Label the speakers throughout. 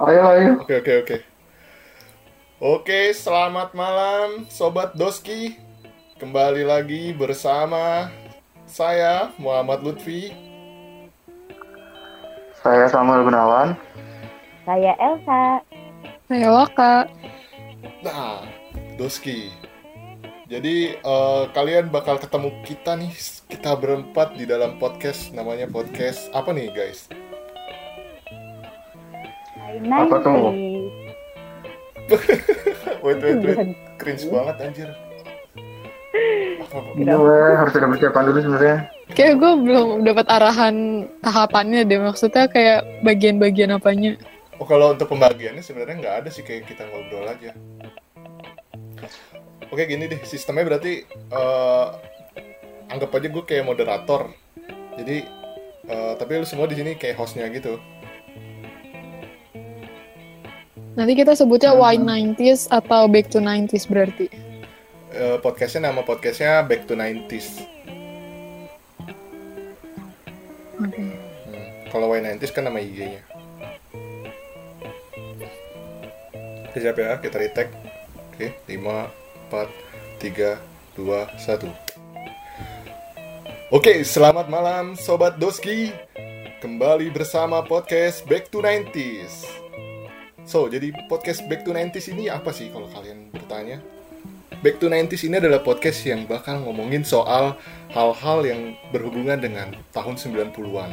Speaker 1: Ayo, ayo.
Speaker 2: Oke, oke, oke. Oke, selamat malam Sobat Doski. Kembali lagi bersama saya, Muhammad Lutfi.
Speaker 1: Saya Samuel Gunawan.
Speaker 3: Saya Elsa.
Speaker 4: Saya Waka.
Speaker 2: Nah, Doski. Jadi, eh, kalian bakal ketemu kita nih, kita berempat di dalam podcast, namanya podcast apa nih guys?
Speaker 1: Apa tuh?
Speaker 2: Wait, wait, wait. Cringe banget anjir. Apa-
Speaker 1: Iya, weh, harus ada persiapan dulu sebenarnya.
Speaker 4: Kayak gue belum dapat arahan tahapannya deh. Maksudnya kayak bagian-bagian apanya.
Speaker 2: Oh, kalau untuk pembagiannya sebenarnya nggak ada sih kayak kita ngobrol aja. Oke gini deh sistemnya berarti eh, anggap aja gue kayak moderator. Jadi eh, tapi lu semua di sini kayak hostnya gitu.
Speaker 4: Nanti kita sebutnya
Speaker 1: Hmm.
Speaker 4: Wine 90s atau Back to 90s berarti.
Speaker 2: Eh, podcastnya nama podcastnya Back to 90s.
Speaker 4: Oke.
Speaker 2: Hmm, Kalau Y90s kan nama IG-nya. Kejap ya, kita retake. Oke, 5, 4, 3, 2, 1. Oke, selamat malam Sobat Doski. Kembali bersama podcast Back to 90s. So, jadi podcast Back to 90s ini apa sih kalau kalian bertanya? Back to 90s ini adalah podcast yang bakal ngomongin soal hal-hal yang berhubungan dengan tahun 90-an.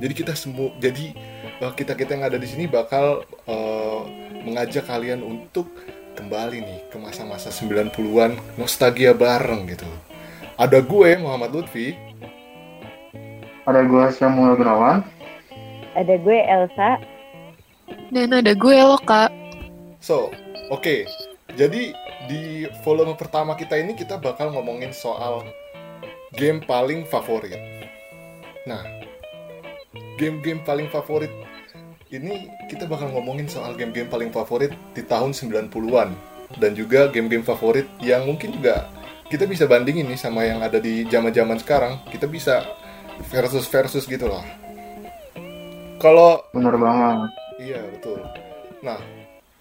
Speaker 2: Jadi kita semua, jadi eh, kita kita yang ada di sini bakal eh, mengajak kalian untuk kembali nih ke masa-masa 90-an nostalgia bareng gitu. Ada gue Muhammad Lutfi.
Speaker 1: Ada gue Samuel Gunawan.
Speaker 3: Ada gue Elsa.
Speaker 4: Dan ada gue loh kak.
Speaker 2: So, oke. Jadi di volume pertama kita ini kita bakal ngomongin soal game paling favorit. Nah, game-game paling favorit ini kita bakal ngomongin soal game-game paling favorit di tahun 90-an dan juga game-game favorit yang mungkin juga kita bisa bandingin nih sama yang ada di zaman-zaman sekarang. Kita bisa versus versus gitu lah. Kalau
Speaker 1: Bener banget.
Speaker 2: Iya, betul. Nah,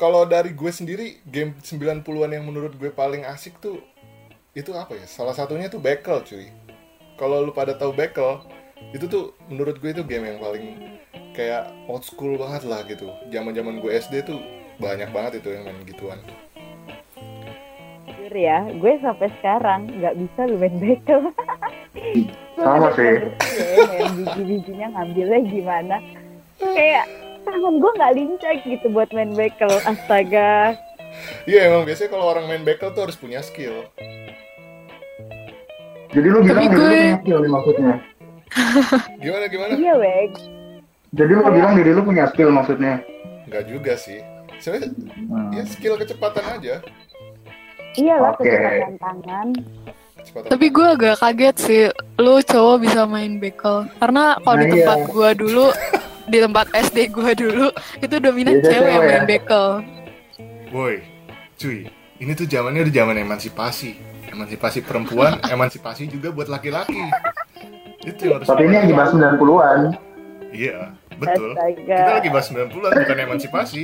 Speaker 2: kalau dari gue sendiri, game 90-an yang menurut gue paling asik tuh itu apa ya? Salah satunya tuh Bekel, cuy. Kalau lu pada tahu Bekel, itu tuh menurut gue itu game yang paling kayak old school banget lah gitu. Zaman-zaman gue SD tuh banyak banget itu yang main gituan.
Speaker 3: Jujur ya, gue sampai sekarang nggak bisa lu main bekel. Gue
Speaker 1: Sama
Speaker 3: nggak
Speaker 1: sih.
Speaker 3: ngerti ya, Yang biji-bijinya ngambilnya gimana. Kayak tangan gue nggak lincah gitu buat main bekel. Astaga.
Speaker 2: Iya, emang biasanya kalau orang main Bekel tuh harus punya skill.
Speaker 1: Jadi lu bilang diri lu
Speaker 4: gue-
Speaker 1: punya skill nih maksudnya.
Speaker 2: Gimana gimana?
Speaker 3: Iya weg.
Speaker 1: Jadi lu bilang diri lu punya skill maksudnya.
Speaker 2: Nggak juga sih. Sebenarnya
Speaker 1: Hmm.
Speaker 2: ya skill kecepatan aja.
Speaker 3: Iya lah
Speaker 1: Oke.
Speaker 3: kecepatan tangan.
Speaker 2: Kecepatan.
Speaker 4: Tapi gue agak kaget sih. Lu cowok bisa main bekel. Karena kalau di
Speaker 1: Nah,
Speaker 4: tempat gue dulu, di tempat SD gue dulu, itu dominan
Speaker 1: Biasanya
Speaker 4: cewek yang
Speaker 1: cewek
Speaker 4: main
Speaker 1: ya.
Speaker 4: bekel.
Speaker 2: Woi, cuy, ini tuh zamannya udah zaman emansipasi. Emansipasi perempuan, emansipasi juga buat laki-laki. Itu yang harus
Speaker 1: Tapi ini yang di bahas 90-an.
Speaker 2: Iya, betul.
Speaker 3: Astaga.
Speaker 2: Kita lagi bahas 90-an bukan emansipasi.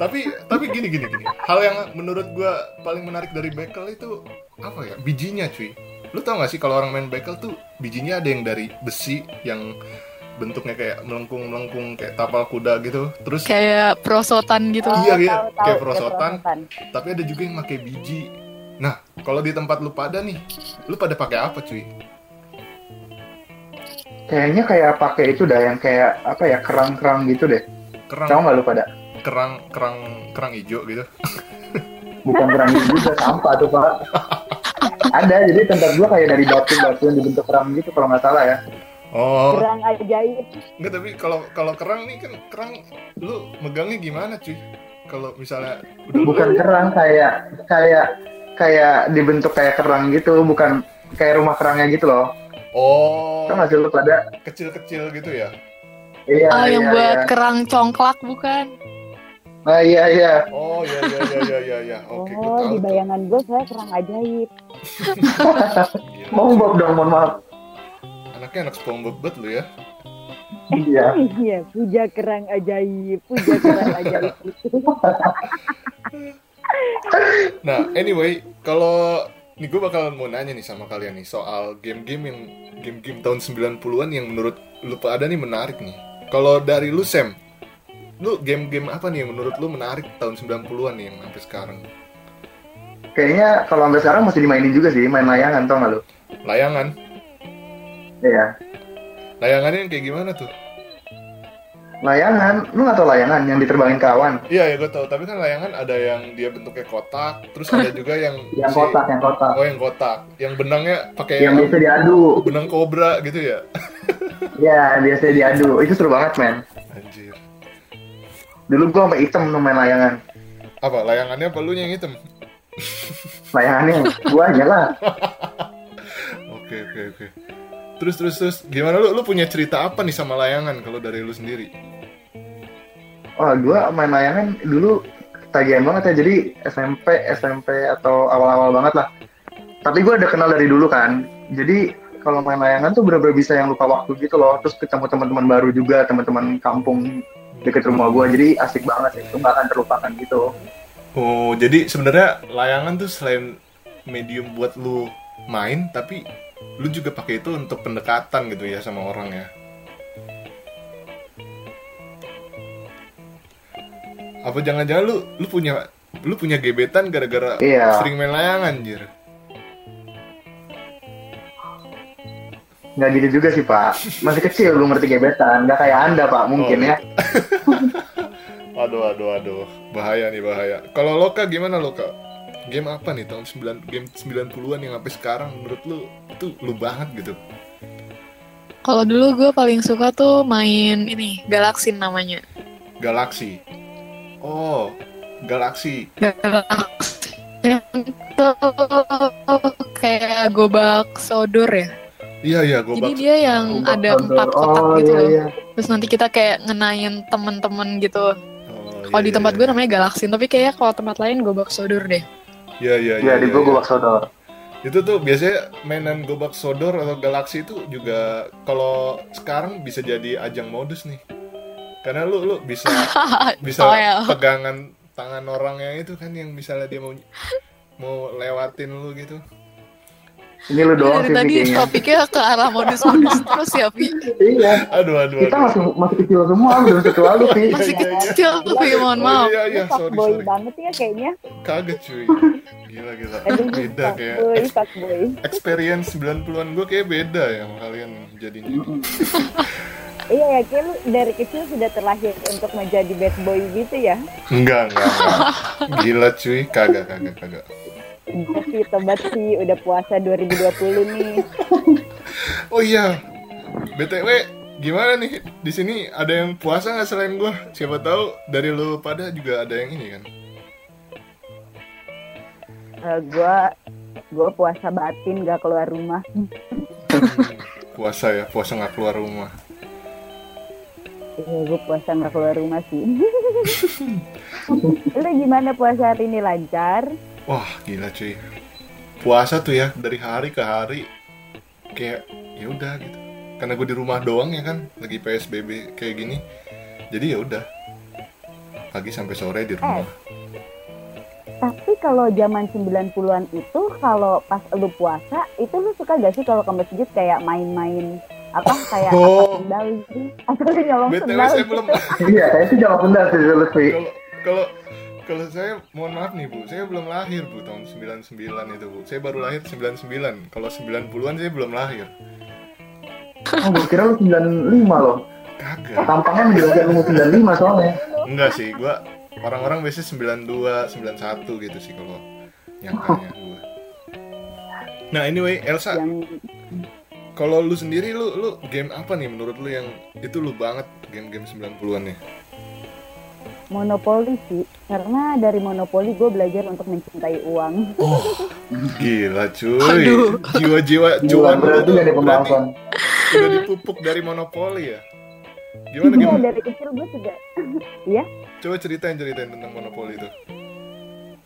Speaker 2: tapi tapi gini gini gini. Hal yang menurut gua paling menarik dari bekel itu apa ya? Bijinya, cuy. Lu tau gak sih kalau orang main bekel tuh bijinya ada yang dari besi yang bentuknya kayak melengkung-melengkung kayak tapal kuda gitu. Terus
Speaker 4: Kayak perosotan
Speaker 3: Oh,
Speaker 4: gitu.
Speaker 1: Ah,
Speaker 2: Iya, iya.
Speaker 3: tahu, tahu.
Speaker 2: Kayak perosotan.
Speaker 3: Kayak
Speaker 2: tapi ada juga yang pakai biji. Nah, kalau di tempat lu pada nih, lu pada pakai apa cuy?
Speaker 1: Kayaknya kayak pakai itu dah yang kayak apa ya kerang-kerang gitu deh. Tahu
Speaker 2: Kerang,
Speaker 1: nggak lu pada?
Speaker 2: kerang, kerang, kerang hijau gitu.
Speaker 1: Bukan kerang itu juga sampah tuh pak. Ada jadi tempat gua kayak dari batu-batu yang dibentuk kerang gitu kalau nggak salah ya.
Speaker 2: Oh,
Speaker 3: Gerang ajaib.
Speaker 2: enggak tapi kalau kalau kerang nih kan kerang, lu megangnya gimana cuy? Kalau misalnya udah
Speaker 1: bukan
Speaker 4: Iya.
Speaker 1: kerang kayak kayak kayak dibentuk kayak kerang gitu bukan kayak rumah kerangnya gitu loh
Speaker 2: oh
Speaker 1: kan hasil lu pada
Speaker 2: kecil-kecil gitu ya?
Speaker 1: iya
Speaker 4: Ah,
Speaker 1: iya,
Speaker 4: yang buat
Speaker 1: iya.
Speaker 4: kerang congklak bukan?
Speaker 1: Ah, iya iya
Speaker 2: Oh ya ya ya ya ya ya. Oke, gua
Speaker 3: oh,
Speaker 2: tahu.
Speaker 3: di
Speaker 2: tuh.
Speaker 3: bayangan gue saya kerang ajaib.
Speaker 2: Gila,
Speaker 1: mau bob dong mohon maaf
Speaker 2: Anaknya anak SpongeBob banget lu ya.
Speaker 1: Iya.
Speaker 3: Iya, puja kerang ajaib, puja kerang ajaib itu.
Speaker 2: Nah, anyway, kalau nih gue bakal mau nanya nih sama kalian nih soal game-game yang game-game tahun 90-an yang menurut lu pada nih menarik nih. Kalau dari lu Sam, lu game-game apa nih yang menurut lu menarik tahun 90-an nih yang sampai sekarang?
Speaker 1: Kayaknya kalau sampai sekarang masih dimainin juga sih, main layangan tau nggak lu?
Speaker 2: Layangan.
Speaker 1: Iya.
Speaker 2: Layangannya yang kayak gimana tuh?
Speaker 1: Layangan, lu nggak tau layangan yang diterbangin kawan?
Speaker 2: Iya, ya gue tahu, tapi kan layangan ada yang dia bentuknya kotak, terus ada juga yang
Speaker 1: Yang
Speaker 4: Iya
Speaker 2: si-
Speaker 1: kotak, yang kotak.
Speaker 2: Oh, yang kotak. Yang benangnya pakai
Speaker 1: Yang biasa diadu.
Speaker 2: benang kobra gitu ya.
Speaker 1: Iya, biasa diadu. Itu seru banget, men.
Speaker 2: Anjir.
Speaker 1: Dulu gua sampai item tuh main layangan.
Speaker 2: Apa layangannya apa lu yang hitam?
Speaker 1: Layangannya gua aja lah.
Speaker 2: Oke oke oke. Terus terus terus gimana lu lu punya cerita apa nih sama layangan kalau dari lu sendiri?
Speaker 1: Oh, gua main layangan dulu tagihan banget ya. Jadi SMP, SMP atau awal-awal banget lah. Tapi gua udah kenal dari dulu kan. Jadi kalau main layangan tuh bener-bener bisa yang lupa waktu gitu loh. Terus ketemu teman-teman baru juga, teman-teman kampung deket rumah gua. Jadi asik banget sih. Itu nggak akan terlupakan gitu.
Speaker 2: Oh jadi sebenarnya layangan tuh selain medium buat lu main tapi lu juga pakai itu untuk pendekatan gitu ya sama orang ya. Apa jangan-jangan lu lu punya lu punya gebetan gara-gara
Speaker 1: Iya.
Speaker 2: sering main layangan anjir.
Speaker 1: Nggak gitu juga sih, Pak. Masih kecil, belum ngerti gebetan. Nggak kayak Anda, Pak, mungkin
Speaker 2: Oh.
Speaker 1: ya.
Speaker 2: Aduh aduh aduh bahaya nih bahaya. Kalau Loka gimana Loka? Game apa nih tahun 9 game 90-an yang sampai sekarang menurut lu itu lu banget gitu.
Speaker 4: Kalau dulu gue paling suka tuh main ini, Galaxy namanya.
Speaker 2: Galaxy. Oh, Galaxy.
Speaker 4: Galaxy. Itu kayak gobak sodor ya.
Speaker 2: Iya iya
Speaker 4: Jadi
Speaker 2: gobak.
Speaker 4: dia yang
Speaker 1: Ombak
Speaker 4: Hmm, ada
Speaker 1: Condor.
Speaker 4: empat kotak
Speaker 1: oh,
Speaker 4: gitu.
Speaker 1: Iya,
Speaker 4: loh.
Speaker 1: iya.
Speaker 4: Terus nanti kita kayak ngenain temen-temen gitu.
Speaker 2: Oh,
Speaker 4: Kalau
Speaker 1: Iya,
Speaker 4: di tempat gue namanya Galaxy, tapi kayak kalau tempat lain gobak sodor deh.
Speaker 2: Iya iya
Speaker 1: Iya,
Speaker 2: iya.
Speaker 1: di
Speaker 2: iya,
Speaker 1: gua
Speaker 2: iya.
Speaker 1: gua sodor.
Speaker 2: Itu tuh biasanya mainan gobak sodor atau Galaxy itu juga kalau sekarang bisa jadi ajang modus nih. Karena lu lu bisa bisa
Speaker 4: Toel.
Speaker 2: pegangan tangan orangnya itu kan yang misalnya dia mau mau lewatin lu gitu.
Speaker 1: Ini lu doang
Speaker 4: Iya, Dari
Speaker 1: sih
Speaker 4: tadi
Speaker 1: bikinnya.
Speaker 4: topiknya ke arah modus-modus terus ya, Pi.
Speaker 1: Iya.
Speaker 2: Aduh aduh.
Speaker 1: Kita
Speaker 2: aduh.
Speaker 1: masih masih kecil semua, belum satu lalu sih.
Speaker 4: Masih
Speaker 2: Iya, iya, iya.
Speaker 4: kecil, Pi, mohon
Speaker 2: Oh,
Speaker 4: maaf.
Speaker 2: Iya iya
Speaker 3: Ini
Speaker 2: sorry
Speaker 3: fuckboy
Speaker 2: sorry.
Speaker 3: banget ya kayaknya.
Speaker 2: Kaget cuy. Gila gila.
Speaker 3: Aduh,
Speaker 2: Beda kayak
Speaker 3: fuckboy, fuckboy.
Speaker 2: experience 90-an gue kayak beda ya sama kalian jadinya.
Speaker 3: Iya ya, kayak lu dari kecil sudah terlahir untuk menjadi bad boy gitu ya.
Speaker 2: Enggak enggak. enggak. Gila cuy, kagak kagak kagak.
Speaker 3: Iya sih, tobat sih. Udah puasa 2020 nih.
Speaker 2: Oh iya. BTW gimana nih di sini ada yang puasa nggak selain gue? Siapa tahu dari lu pada juga ada yang ini kan.
Speaker 3: Eh, gua gue puasa batin gak keluar rumah.
Speaker 2: Puasa ya, puasa nggak keluar rumah.
Speaker 3: Iya, gue puasa nggak keluar rumah sih. Lu gimana puasa hari ini lancar?
Speaker 2: Wah, gila cuy. Puasa tuh ya dari hari ke hari kayak ya udah gitu. Karena gue di rumah doang ya kan, lagi PSBB kayak gini. Jadi ya udah. Pagi sampai sore di rumah.
Speaker 3: Tapi kalau zaman 90-an itu kalau pas lu puasa itu lu suka gak sih kalau ke masjid kayak main-main apa kayak apa
Speaker 2: Oh.
Speaker 3: sendal gitu atau lu nyolong
Speaker 2: BTW
Speaker 3: sendal
Speaker 2: saya
Speaker 3: gitu.
Speaker 2: belum
Speaker 1: Iya, kayak itu jangan benar sih dulu sih.
Speaker 2: kalau kalau kalau saya mohon maaf nih Bu, saya belum lahir Bu tahun 99 itu Bu. Saya baru lahir 99. Kalau 90-an saya belum lahir.
Speaker 1: Oh, gua kira lu 95 loh.
Speaker 2: Kagak.
Speaker 1: Tampangnya menjelaskan umur 95 soalnya.
Speaker 2: Enggak sih, gua orang-orang biasanya 92, 91 gitu sih kalau nyangkanya gua. Nah, anyway, Elsa,
Speaker 3: yang
Speaker 2: kalau lu sendiri lu lu game apa nih menurut lu yang itu lu banget game-game 90-an nih?
Speaker 3: monopoli sih karena dari monopoli gue belajar untuk mencintai uang
Speaker 2: Oh, gila cuy.
Speaker 4: Aduh.
Speaker 2: Jiwa-jiwa
Speaker 1: Gila,
Speaker 2: cuan lu
Speaker 1: berarti
Speaker 2: tuh
Speaker 1: jadi
Speaker 2: berarti
Speaker 1: pembahasan.
Speaker 2: udah dipupuk dari monopoli ya gimana
Speaker 3: Iya
Speaker 2: gimana
Speaker 3: dari kecil gue sudah
Speaker 2: coba ceritain ceritain tentang monopoli itu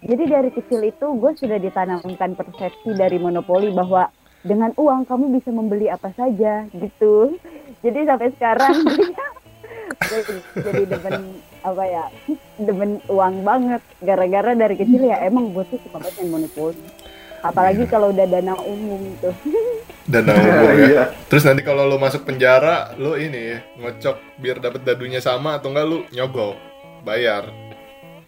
Speaker 3: Jadi dari kecil itu gue sudah ditanamkan persepsi dari monopoli bahwa dengan uang kamu bisa membeli apa saja gitu jadi sampai sekarang dia- gue jadi demen apa ya demen uang banget gara-gara dari kecil ya emang gue tuh suka banget main monopoli apalagi kalau udah dana umum tuh
Speaker 2: Dan
Speaker 1: Iya,
Speaker 2: umur ya.
Speaker 1: iya.
Speaker 2: Terus nanti kalau lo masuk penjara, lo ini ngocok biar dapat dadunya sama atau enggak lo nyogok, bayar.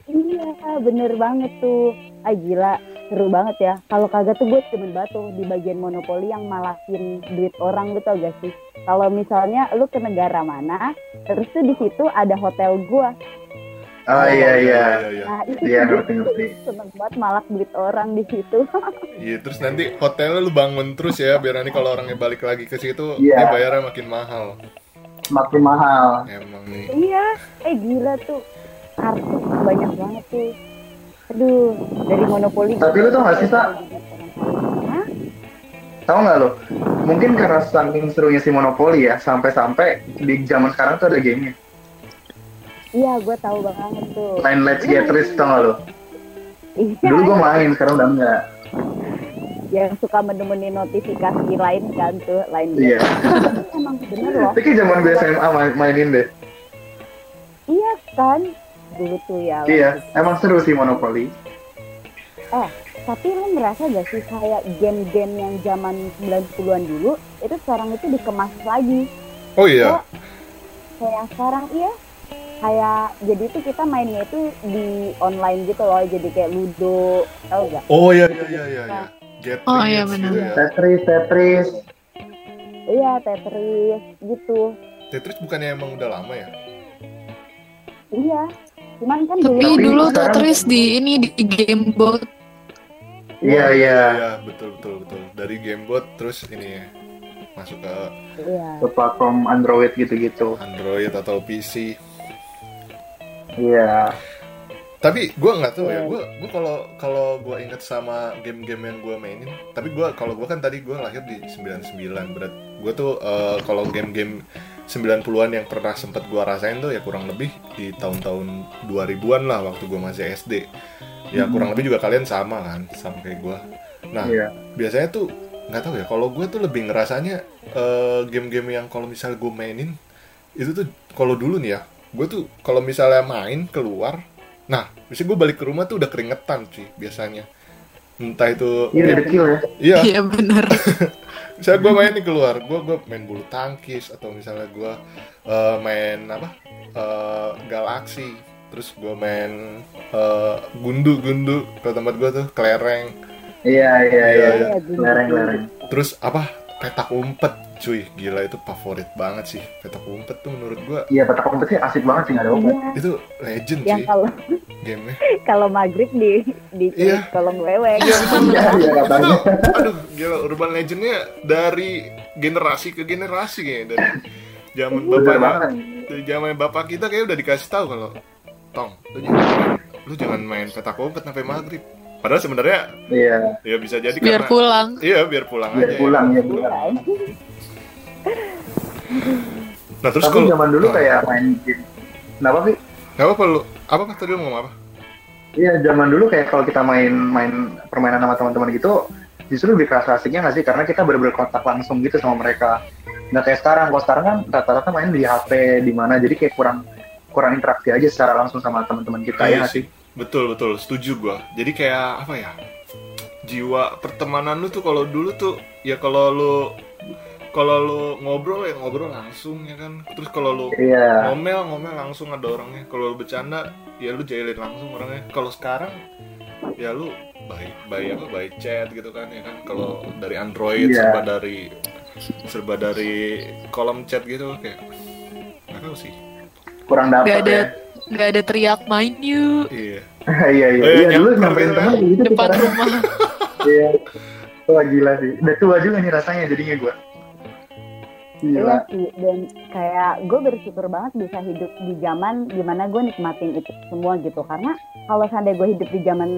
Speaker 3: Iya, bener banget tuh. Ah gila, seru banget ya. Kalau kagak tuh gue demen banget tuh di bagian monopoli yang malakin duit orang lu tau gak sih? Kalau misalnya lu ke negara mana, terus tuh di situ ada hotel gua.
Speaker 1: Oh iya iya.
Speaker 2: iya, iya.
Speaker 3: Nah, itu
Speaker 1: Iya
Speaker 3: tuh
Speaker 1: ngerti ngerti.
Speaker 3: seneng banget malak duit orang di situ.
Speaker 2: Iya, terus nanti hotelnya lu bangun terus ya, biar nanti kalau orangnya balik lagi ke situ,
Speaker 1: Iya.
Speaker 2: dia bayarnya makin mahal.
Speaker 1: Makin mahal.
Speaker 2: Emang nih.
Speaker 3: iya, eh gila tuh. Kartu banyak banget tuh. Aduh, dari monopoli.
Speaker 1: Tapi lu tau gak sih, Tak?
Speaker 3: Hah?
Speaker 1: Tahu nggak lo? Mungkin karena saking serunya si Monopoly ya, sampai-sampai di zaman sekarang tuh ada gamenya.
Speaker 3: Iya, gue tahu banget tuh.
Speaker 1: Main Let's Get Rich tau nggak lo?
Speaker 3: Iya,
Speaker 1: Nah, Dulu gue main, sekarang udah enggak.
Speaker 3: yang suka menemani notifikasi lain kan tuh lain
Speaker 1: Iya.
Speaker 3: Tapi emang bener loh
Speaker 1: Tapi kayak zaman gue SMA main- mainin deh.
Speaker 3: iya kan dulu tuh ya lah.
Speaker 1: Iya, emang seru sih Monopoly.
Speaker 3: tapi lu merasa gak sih kayak game-game yang zaman 90-an dulu itu sekarang itu dikemas lagi
Speaker 2: Oh iya,
Speaker 3: kayak sekarang iya kayak jadi itu kita mainnya itu di online gitu loh jadi kayak ludo tau gak
Speaker 2: oh iya iya iya iya. iya. Get
Speaker 4: Oh,
Speaker 2: rich
Speaker 4: iya,
Speaker 2: gitu
Speaker 4: benar.
Speaker 2: ya.
Speaker 1: Tetris, Tetris.
Speaker 3: iya tetris gitu
Speaker 2: Tetris Ya, bukannya emang udah lama ya?
Speaker 3: iya cuman kan
Speaker 4: Tapi
Speaker 3: dulu
Speaker 4: dulu
Speaker 1: sekarang-
Speaker 4: Tetris di ini di game board.
Speaker 1: Iya iya.
Speaker 2: Iya, betul betul betul. Dari Gamebot terus ini ya, masuk ke
Speaker 3: iya
Speaker 1: Ke platform Android gitu-gitu.
Speaker 2: Android atau PC.
Speaker 1: Iya.
Speaker 2: Tapi gua nggak tahu ya,
Speaker 3: Iya.
Speaker 2: gua gua kalau kalau gua inget sama game-game yang gua mainin, tapi gua kalau gua kan tadi gua lahir di 99 berat. Gua tuh eh, kalau game-game 90-an yang pernah sempet gua rasain tuh ya kurang lebih di tahun-tahun 2000-an lah waktu gua masih SD. Ya
Speaker 1: Hmm.
Speaker 2: kurang lebih juga kalian sama kan sama kayak gua. Nah,
Speaker 1: Iya.
Speaker 2: biasanya tuh nggak tahu ya kalau gue tuh lebih ngerasanya eh, game-game yang kalau misalnya gue mainin itu tuh kalau dulu nih ya gue tuh kalau misalnya main keluar nah biasanya gue balik ke rumah tuh udah keringetan sih biasanya entah itu
Speaker 1: Iya dari kecil ya.
Speaker 2: iya
Speaker 4: Iya bener.
Speaker 2: misalnya gue main nih keluar gue gue main bulu tangkis atau misalnya gue eh, main apa eh, galaksi terus gue main eh, gundu-gundu ke tempat gue tuh kelereng
Speaker 1: Iya iya iya.
Speaker 2: Iya,
Speaker 3: dulu.
Speaker 1: Lereng lereng.
Speaker 2: Terus apa? Petak umpet, cuy. Gila itu favorit banget sih. Petak umpet tuh menurut gua
Speaker 1: Iya petak umpet sih asik banget sih nggak ada obat.
Speaker 3: Iya,
Speaker 2: itu legend
Speaker 3: yang
Speaker 2: sih
Speaker 1: Iya.
Speaker 3: kalau
Speaker 2: gamenya.
Speaker 3: kalau maghrib di di
Speaker 2: Iya.
Speaker 3: kolong wewe gitu
Speaker 1: Iya iya
Speaker 2: Itu
Speaker 1: katanya.
Speaker 2: tuh, aduh, gila urban legendnya dari generasi ke generasi kayaknya dari zaman
Speaker 1: Iya, Bener
Speaker 2: bapak
Speaker 1: banget.
Speaker 2: dari zaman bapak kita kayak udah dikasih tahu kalau tong lu jangan, lu jangan main petak umpet sampai maghrib. Padahal sebenarnya
Speaker 1: Iya.
Speaker 2: ya bisa jadi
Speaker 4: Biar
Speaker 2: karena
Speaker 4: pulang.
Speaker 2: iya biar pulang
Speaker 1: Biar
Speaker 2: aja.
Speaker 1: pulang ya
Speaker 3: Iya.
Speaker 1: pulang.
Speaker 2: Nah terus
Speaker 1: Tapi
Speaker 2: kalau
Speaker 1: zaman dulu
Speaker 2: Nah,
Speaker 1: kayak main game. Kenapa sih?
Speaker 2: nggak apa-apa lu apa tadi lu ngomong apa?
Speaker 1: Iya, zaman dulu kayak kalau kita main-main permainan sama teman-teman gitu, justru lebih kerasa asiknya nggak sih? Karena kita bener-bener kontak langsung gitu sama mereka. Nggak kayak sekarang. Kalau sekarang kan rata-rata main di HP, di mana. Jadi kayak kurang kurang interaksi aja secara langsung sama teman-teman kita ya
Speaker 2: Iya
Speaker 1: nggak sih?
Speaker 2: sih. Betul betul, setuju gua. Jadi kayak apa ya? Jiwa pertemanan lu tuh kalau dulu tuh ya kalau lu kalau lu ngobrol ya ngobrol langsung ya kan. Terus kalau lu
Speaker 1: Iya,
Speaker 2: ngomel ngomel langsung ada orangnya. Kalau lu bercanda ya lu jailin langsung orangnya. Kalau sekarang ya lu baik baik apa baik chat gitu kan ya kan. Kalau dari Android
Speaker 1: Iya.
Speaker 2: serba dari serba dari kolom chat gitu kayak nggak tahu sih.
Speaker 1: kurang dapet
Speaker 4: Gak ada
Speaker 1: ya.
Speaker 4: gak ada teriak main yuk
Speaker 2: Iya.
Speaker 1: Iya, iya.
Speaker 2: Eh,
Speaker 1: Iya, dulu
Speaker 2: nyamper
Speaker 1: nyamperin
Speaker 2: gitu
Speaker 1: teman
Speaker 2: kan.
Speaker 1: gitu sih
Speaker 4: depan
Speaker 1: karena-
Speaker 4: rumah.
Speaker 1: Iya. Wah, gila sih. Udah tua juga nih rasanya jadinya gue. Gila.
Speaker 3: Iya sih, dan kayak gue bersyukur banget bisa hidup di zaman dimana gue nikmatin itu semua gitu karena kalau seandainya gue hidup di zaman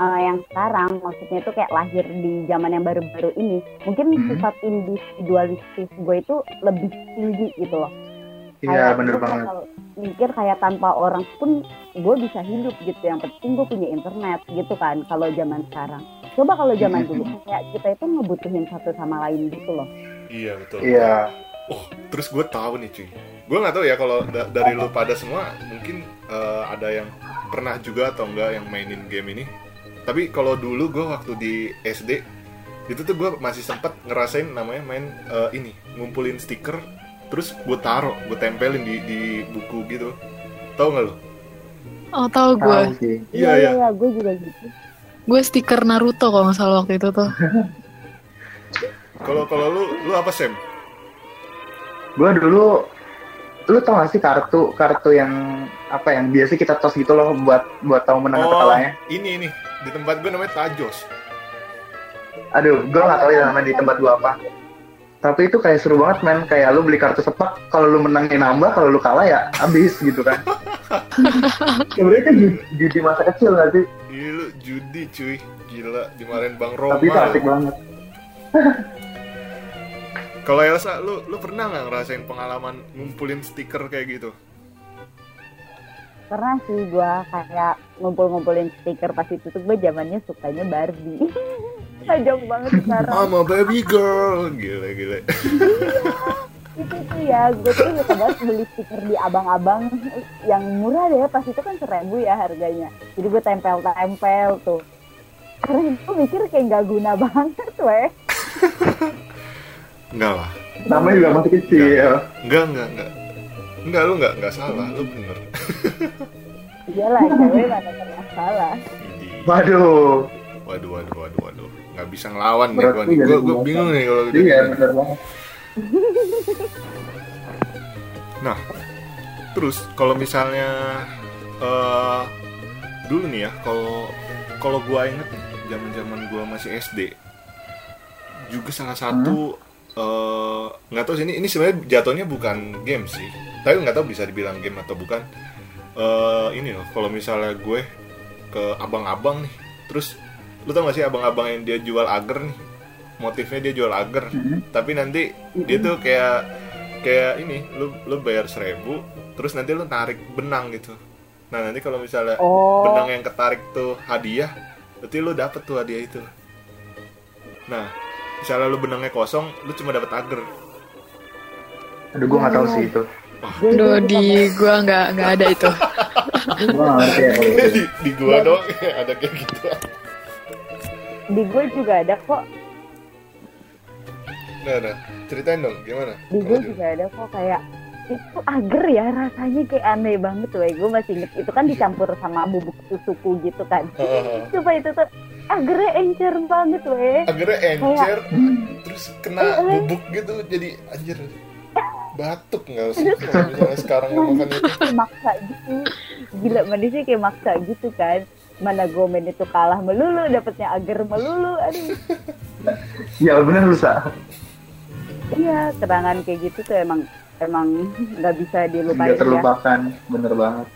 Speaker 3: eh, yang sekarang maksudnya itu kayak lahir di zaman yang baru-baru ini mungkin
Speaker 1: Mhm.
Speaker 3: sifat individualistis gue itu lebih tinggi gitu loh
Speaker 1: Iya,
Speaker 3: Kayak
Speaker 1: bener
Speaker 3: gue
Speaker 1: banget.
Speaker 3: bakal mikir kayak tanpa orang pun gue bisa hidup gitu yang penting gue punya internet gitu kan kalau zaman sekarang Coba kalau zaman dulu kayak kita itu ngebutuhin satu sama lain gitu loh.
Speaker 2: Iya betul.
Speaker 1: Iya.
Speaker 2: Oh, terus gue tahu nih cuy. Gue nggak tahu ya kalau da- dari lu pada semua mungkin eh, ada yang pernah juga atau enggak yang mainin game ini. Tapi kalau dulu gue waktu di SD itu tuh gue masih sempet ngerasain namanya main eh, ini ngumpulin stiker terus gue taruh gue tempelin di di buku gitu tahu nggak lo?
Speaker 4: Oh tahu gue.
Speaker 1: Tahu sih.
Speaker 2: Iya, iya.
Speaker 3: iya, gue juga gitu.
Speaker 4: Gue stiker Naruto kalau nggak salah waktu itu tuh.
Speaker 2: Kalau kalau lu lu apa Sam?
Speaker 1: Gue dulu lu tau gak sih kartu kartu yang apa yang biasa kita tos gitu loh buat buat tahu menang
Speaker 2: Oh.
Speaker 1: atau kalahnya
Speaker 2: ini ini di tempat gue namanya Tajos.
Speaker 1: aduh gue gak tau ya namanya di tempat gua apa tapi itu kayak seru banget men kayak lu beli kartu sepak kalau lu menangnya nambah kalau lu kalah ya habis gitu kan sebenarnya kan judi- judi masa kecil gak sih
Speaker 2: Ini lu judi cuy gila dimarahin Bang Roma.
Speaker 1: tapi itu
Speaker 2: lu.
Speaker 1: asik banget
Speaker 2: Kalau Elsa, lu lu pernah nggak ngerasain pengalaman ngumpulin stiker kayak gitu?
Speaker 3: Pernah sih gue kayak ngumpul-ngumpulin stiker pas itu tuh gue zamannya sukanya Barbie. Tajam banget sekarang.
Speaker 2: I'm a baby girl, gila gila.
Speaker 3: itu tuh ya gue tuh suka banget beli stiker di abang-abang yang murah deh pas itu kan seribu ya harganya jadi gue tempel-tempel tuh karena gue mikir kayak nggak guna banget weh
Speaker 2: Enggak lah,
Speaker 1: namanya juga masih kecil
Speaker 2: enggak enggak enggak. Enggak lu enggak enggak salah, lu bener.
Speaker 3: iyalah cewek mana pernah salah
Speaker 2: Idi.
Speaker 1: waduh
Speaker 2: Waduh waduh waduh waduh, nggak bisa ngelawan nih
Speaker 1: Berarti
Speaker 2: gua nih.
Speaker 1: jadi
Speaker 2: Gua, gua
Speaker 1: biasa.
Speaker 2: bingung nih kalau gitu.
Speaker 1: iya bener banget
Speaker 2: Nah, terus kalau misalnya eh dulu nih ya, kalau kalau gua inget nih, zaman-zaman gua masih SD, juga salah satu eh, nggak tahu sih ini ini sebenarnya jatuhnya bukan game sih, tapi nggak tahu bisa dibilang game atau bukan. Eh ini loh, kalau misalnya gue ke abang-abang nih, terus lu tau gak sih abang-abang yang dia jual agar nih, motifnya dia jual agar, tapi nanti dia tuh kayak kayak ini lu lu bayar seribu terus nanti lu tarik benang gitu nah nanti kalau misalnya
Speaker 3: Oh.
Speaker 2: benang yang ketarik tuh hadiah berarti lu dapet tuh hadiah itu nah misalnya lu benangnya kosong lu cuma dapet agar
Speaker 1: aduh gua gak tau sih itu
Speaker 3: Gue itu
Speaker 4: Aduh
Speaker 3: suka
Speaker 4: di gua nggak nggak ada itu.
Speaker 1: gua gak ngerti ya kalau itu.
Speaker 2: di, di gua doang ada kayak gitu
Speaker 3: banget. di gue juga ada kok
Speaker 2: nah nah ceritain dong gimana
Speaker 3: di gue juga ada kok kayak itu agar ya rasanya kayak aneh banget weh gue masih inget itu kan dicampur sama bubuk susuku gitu kan
Speaker 2: Heeh.
Speaker 3: coba itu tuh agarnya encer banget weh
Speaker 2: agarnya encer
Speaker 3: Hmm.
Speaker 2: terus
Speaker 3: Eh,
Speaker 2: kena bubuk gitu jadi anjir batuk nggak sih kalau misalnya sekarang makan itu
Speaker 3: maksa gitu gila manisnya kayak maksa gitu kan mana gomen itu kalah melulu dapatnya agar melulu aduh
Speaker 1: ya bener lu Sa.
Speaker 3: iya kerangan kayak gitu tuh emang emang nggak bisa dilupain
Speaker 1: nggak
Speaker 3: ya
Speaker 1: terlupakan bener banget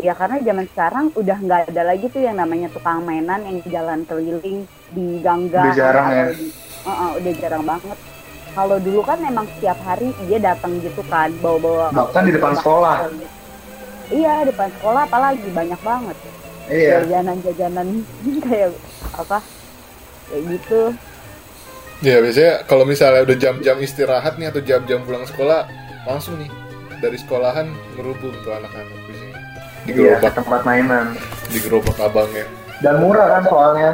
Speaker 3: Iya karena zaman sekarang udah nggak ada lagi tuh yang namanya tukang mainan yang jalan keliling di ganggang
Speaker 1: Udah jarang
Speaker 3: atau
Speaker 1: ya.
Speaker 3: di- Heeh, udah jarang banget kalau dulu kan emang setiap hari dia datang gitu kan bawa-bawa
Speaker 1: Bahkan di depan sekolah.
Speaker 3: iya depan sekolah apalagi banyak banget
Speaker 1: iya
Speaker 3: jajanan-jajanan kayak apa kayak gitu
Speaker 2: Ya biasanya kalau misalnya udah jam-jam istirahat nih atau jam-jam pulang sekolah langsung nih dari sekolahan ngerubung tuh anak-anak biasanya
Speaker 1: iya ke
Speaker 2: digerobak
Speaker 1: tempat mainan
Speaker 2: digerobak abangnya.
Speaker 1: dan murah kan soalnya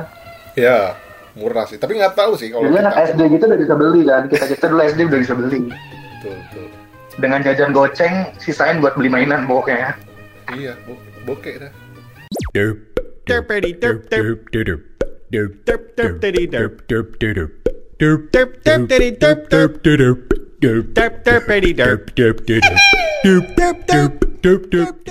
Speaker 2: Ya murah sih, tapi nggak tahu sih kalau
Speaker 1: Dulu
Speaker 2: kita
Speaker 1: anak SD gitu udah bisa beli kan. Kita kita dulu SD udah bisa beli.
Speaker 2: Betul, betul.
Speaker 1: Dengan jajan goceng sisain buat beli mainan pokoknya.
Speaker 2: Iya, bo- bokeh dah.
Speaker 5: Derp.
Speaker 6: Derpity derp derp
Speaker 5: Derp. Derp. Derp.
Speaker 6: derp derp diddy derp
Speaker 5: Derp. Derp. Derp.
Speaker 6: derp derp diddy derp derp
Speaker 5: Derp. Derp. Derp.
Speaker 6: derp derpity derp
Speaker 5: Derp. Derp. Derp. Derp. Derp. Derp. Derp. Derp.